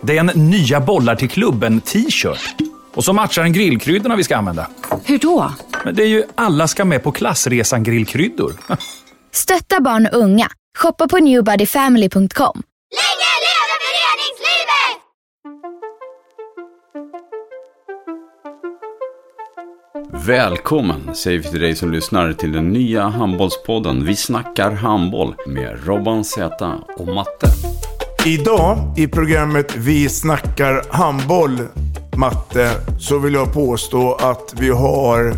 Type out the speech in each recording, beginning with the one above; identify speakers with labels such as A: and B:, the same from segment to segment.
A: Det är en nya bollar till klubben-t-shirt. Och så matchar den grillkryddorna vi ska använda.
B: Hur då?
A: Men det är ju alla ska med på klassresan grillkryddor.
C: Stötta barn och unga. Shoppa på newbodyfamily.com.
D: Länge leve föreningslivet!
E: Välkommen säger vi till dig som lyssnar till den nya handbollspodden Vi snackar handboll med Robban Z och Matte.
F: Idag i programmet Vi snackar handboll, Matte, så vill jag påstå att vi har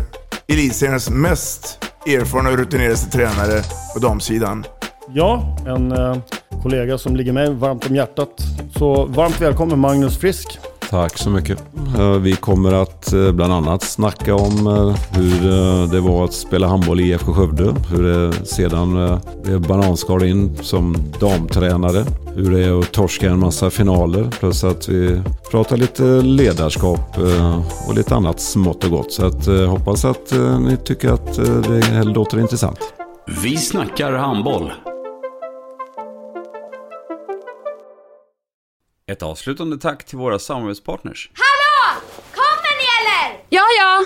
F: elitseriens mest erfarna och rutinerade tränare på damsidan.
G: Ja, en eh, kollega som ligger mig varmt om hjärtat. Så varmt välkommen Magnus Frisk.
H: Tack så mycket. Eh, Vi kommer att eh, bland annat snacka om eh, hur eh, det var att spela handboll i IFK Skövde. Hur det sedan eh, blev bananskal in som damtränare. Hur det är att torska en massa finaler. Plus att vi pratar lite ledarskap eh, och lite annat smått och gott. Så att, eh, hoppas att eh, ni tycker att eh, det här låter intressant.
E: Vi snackar handboll. Ett avslutande tack till våra samarbetspartners.
D: Hallå! Kommer ni eller?
B: Ja, ja.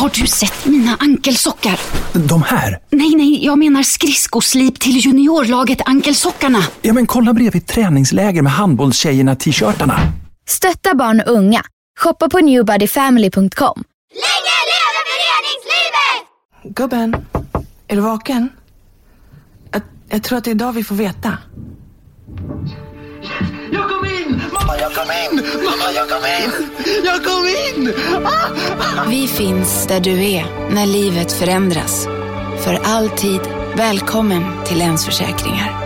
B: Har du sett mina ankelsockar?
A: De här?
B: Nej, nej, jag menar skridskoslip till juniorlaget Ankelsockarna.
A: Ja, men kolla bredvid träningsläger med handbollstjejerna-t-shirtarna.
C: Stötta barn och unga. Shoppa på newbodyfamily.com.
D: Länge leve föreningslivet!
I: Gubben, är du vaken? Jag, jag tror att det är idag vi får veta.
J: Jag kom in! Mamma, jag kom in! Mamma, jag kom in! Jag kom in! Ah!
B: Vi finns där du är när livet förändras. För alltid välkommen till Länsförsäkringar.